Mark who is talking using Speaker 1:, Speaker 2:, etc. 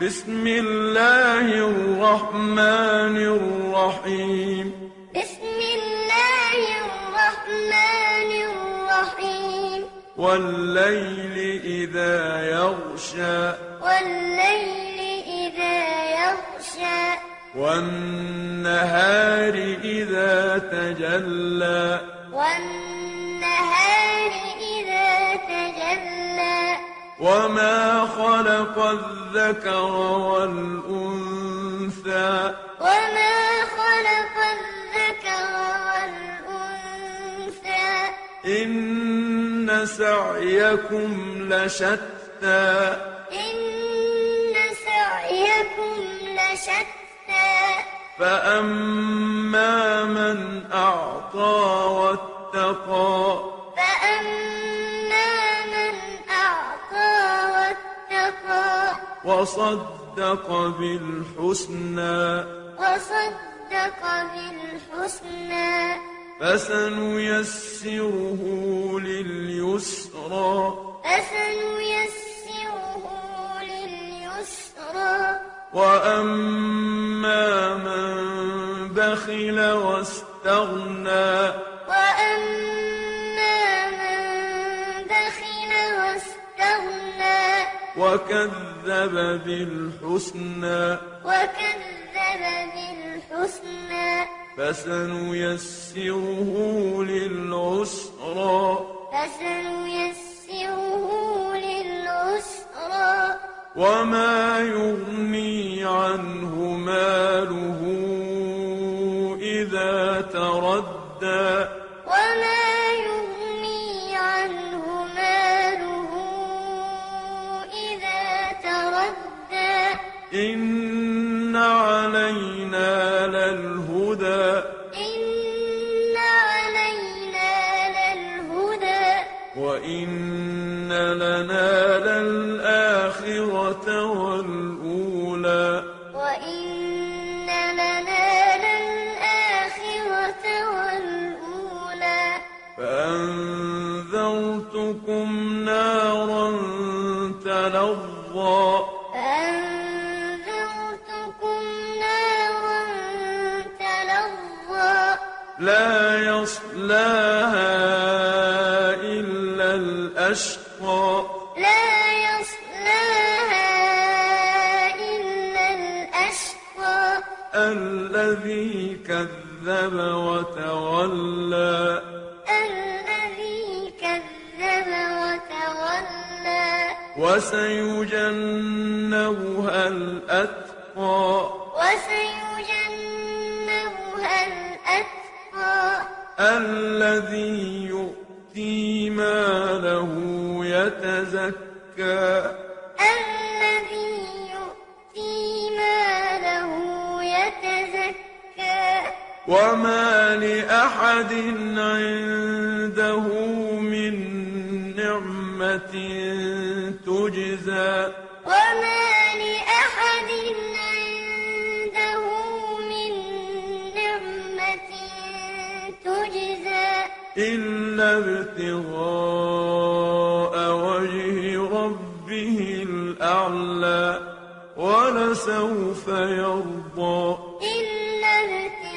Speaker 1: بسم الله الرحمن الرحيم
Speaker 2: بسم الله الرحمن الرحيم
Speaker 1: والليل إذا يغشى
Speaker 2: والليل إذا يغشى
Speaker 1: والنهار إذا تجلى
Speaker 2: والنهار إذا تجلى
Speaker 1: وما خلق الذكر والأنثى
Speaker 2: وما خلق الذكر والأنثى
Speaker 1: إن سعيكم لشتى
Speaker 2: إن سعيكم لشتى
Speaker 1: فأما من أعطى واتقى
Speaker 2: فأما من أعطى واتقى
Speaker 1: وصدق بالحسنى
Speaker 2: وصدق بالحسنى
Speaker 1: فسنيسره لليسرى
Speaker 2: فسنيسره لليسرى
Speaker 1: وأما من بخل واستغنى
Speaker 2: وأما من بخل واستغنى
Speaker 1: وكذب بالحسنى
Speaker 2: وكذب بالحسنى
Speaker 1: فسنيسره للعسرى
Speaker 2: فسنيسره للعسرى
Speaker 1: وما يغني عنه ماله إذا تردى
Speaker 2: وما يغني عنه ماله إذا تردى
Speaker 1: إن علينا للهدى
Speaker 2: إن علينا للهدى
Speaker 1: وإن لنا للآخرة والأولى
Speaker 2: وإن لنا للآخرة والأولى
Speaker 1: فأنذرتكم نارا تلظى
Speaker 2: فأنذرتكم نارا تلظى
Speaker 1: لا يصلاها إلا الأشقى
Speaker 2: لا يصلاها إلا الأشقى
Speaker 1: الذي كذب وتولى
Speaker 2: الذي كذب وتولى
Speaker 1: وسيجنبها الأتقى
Speaker 2: وسيجنبها الأتقى
Speaker 1: الذي يؤتي ماله يتزكى
Speaker 2: الذي يؤتي ماله يتزكى
Speaker 1: وما لأحد عنده من نعمة تجزى
Speaker 2: وما لأحد عنده من نعمة تجزى
Speaker 1: إلا ابتغاء وجه ربه الأعلى ولسوف يرضى
Speaker 2: إلا ابتغاء